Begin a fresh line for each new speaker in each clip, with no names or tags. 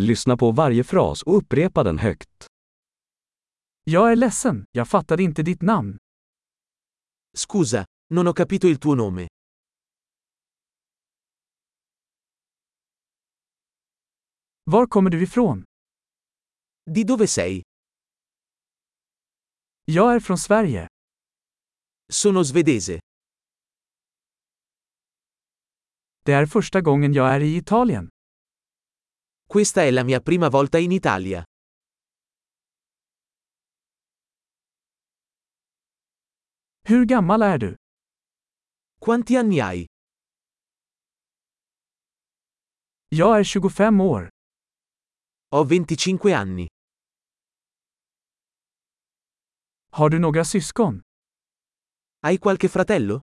Lyssna på varje fras och upprepa den högt.
Jag är ledsen, jag fattade inte ditt namn.
Scusa, non ho capito il tuo nome.
Var kommer du ifrån?
Di dove sei?
Jag är från Sverige.
Sono svedese.
Det är första gången jag är i Italien.
Questa è la mia prima volta in Italia.
Hur gammal är du?
Quanti anni hai?
Jag är 25 år.
Ho 25 anni.
Har du några syskon?
Hai qualche fratello?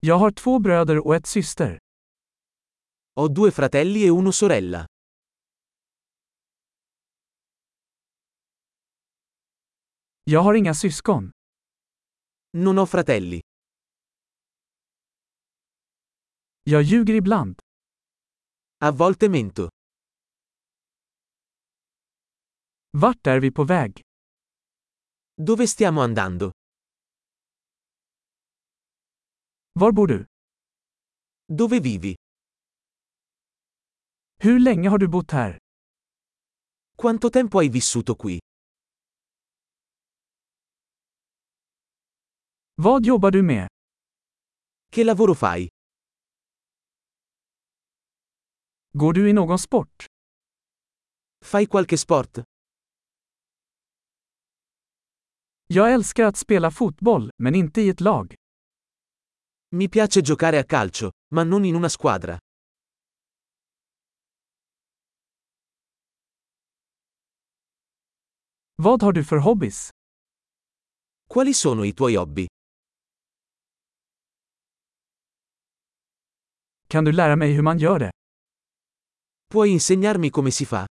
Jag har två bröder och ett syster.
Ho due fratelli e una sorella.
Jag har inga syskon.
Non ho fratelli.
Jag ljuger ibland.
A volte mento.
Vart är vi på väg?
Dove stiamo andando?
Var bor du?
Dove vivi?
Hur länge har du bott här?
Quanto tempo hai vissuto qui?
Vad jobbar du med?
Che lavoro fai?
Går du i någon sport?
Fai qualche sport?
Jag älskar att spela fotboll, men inte i ett lag.
Mi piace giocare a calcio, ma non in una squadra.
Vad har du för hobbys?
Quali sono i tuoi hobby?
Kan du lära mig hur man gör det?
Puoi insegnarmi come si fa?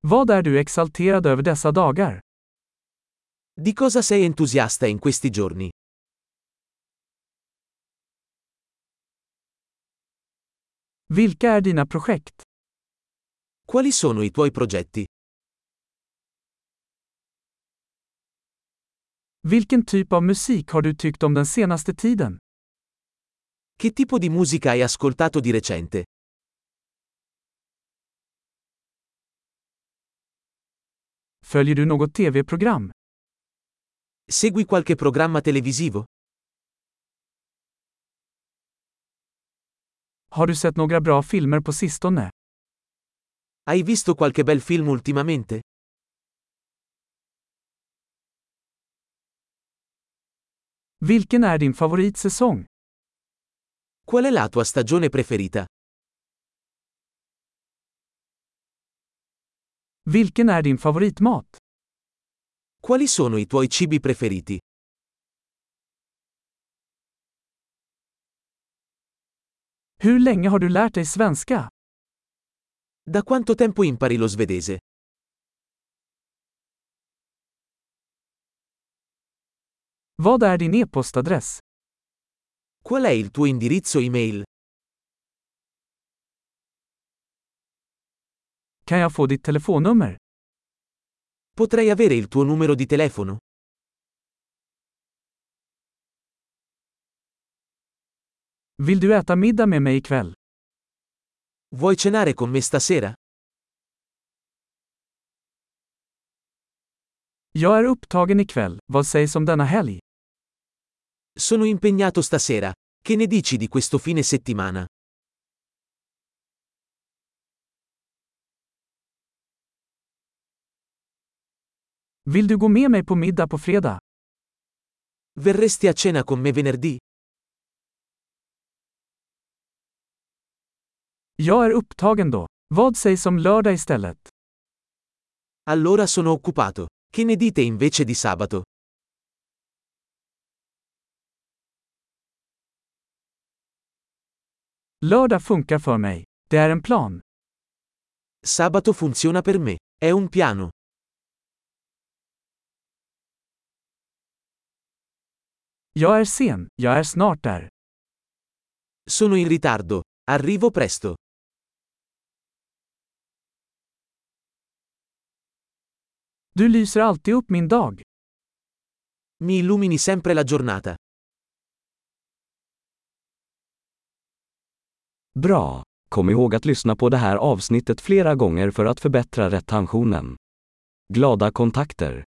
Vad är du exalterad över dessa dagar?
Di cosa sei entusiasta in questi giorni?
Vilka är dina projekt?
Quali sono i tuoi progetti?
Vilken typ av musik har du tyckt om den senaste tiden?
Che tipo di musica hai ascoltato di recente?
Följer du något tv-program?
Segui qualche programma televisivo?
Har du sett några bra filmer på sistone?
Hai visto qualche bel film ultimamente?
Vilken är din favoritsäsong?
Qual è la tua stagione preferita?
Vilken är din favoritmat?
Quali sono i tuoi cibi preferiti?
Hur länge har du lärt dig svenska?
Da quanto tempo impari lo svedese?
Vad är din e-postadress?
Qual è il tuo indirizzo email?
Kan jag få ditt telefonnummer?
Potrei avere il tuo numero di telefono?
Vill du äta middag med mig ikväll?
Vuoi cenare con me stasera?
Jag är upptagen ikväll, vad sägs om denna helg?
Sono impegnato stasera. Che ne dici di questo fine settimana?
Vill du gå med mig på middag på fredag?
Verresti a cena con me venerdì?
Jag är upptagen då. Vad sägs om lördag istället?
Allora sono occupato. Che ne dite invece di sabato?
Lördag funkar för mig. Det är en plan.
Sabato funziona per me. È un piano.
Jag är sen, jag är snart där.
Sono in ritardo. Arrivo presto.
Du lyser alltid upp min dag.
Mi illumini sempre la giornata.
Bra! Kom ihåg att lyssna på det här avsnittet flera gånger för att förbättra retentionen. Glada kontakter!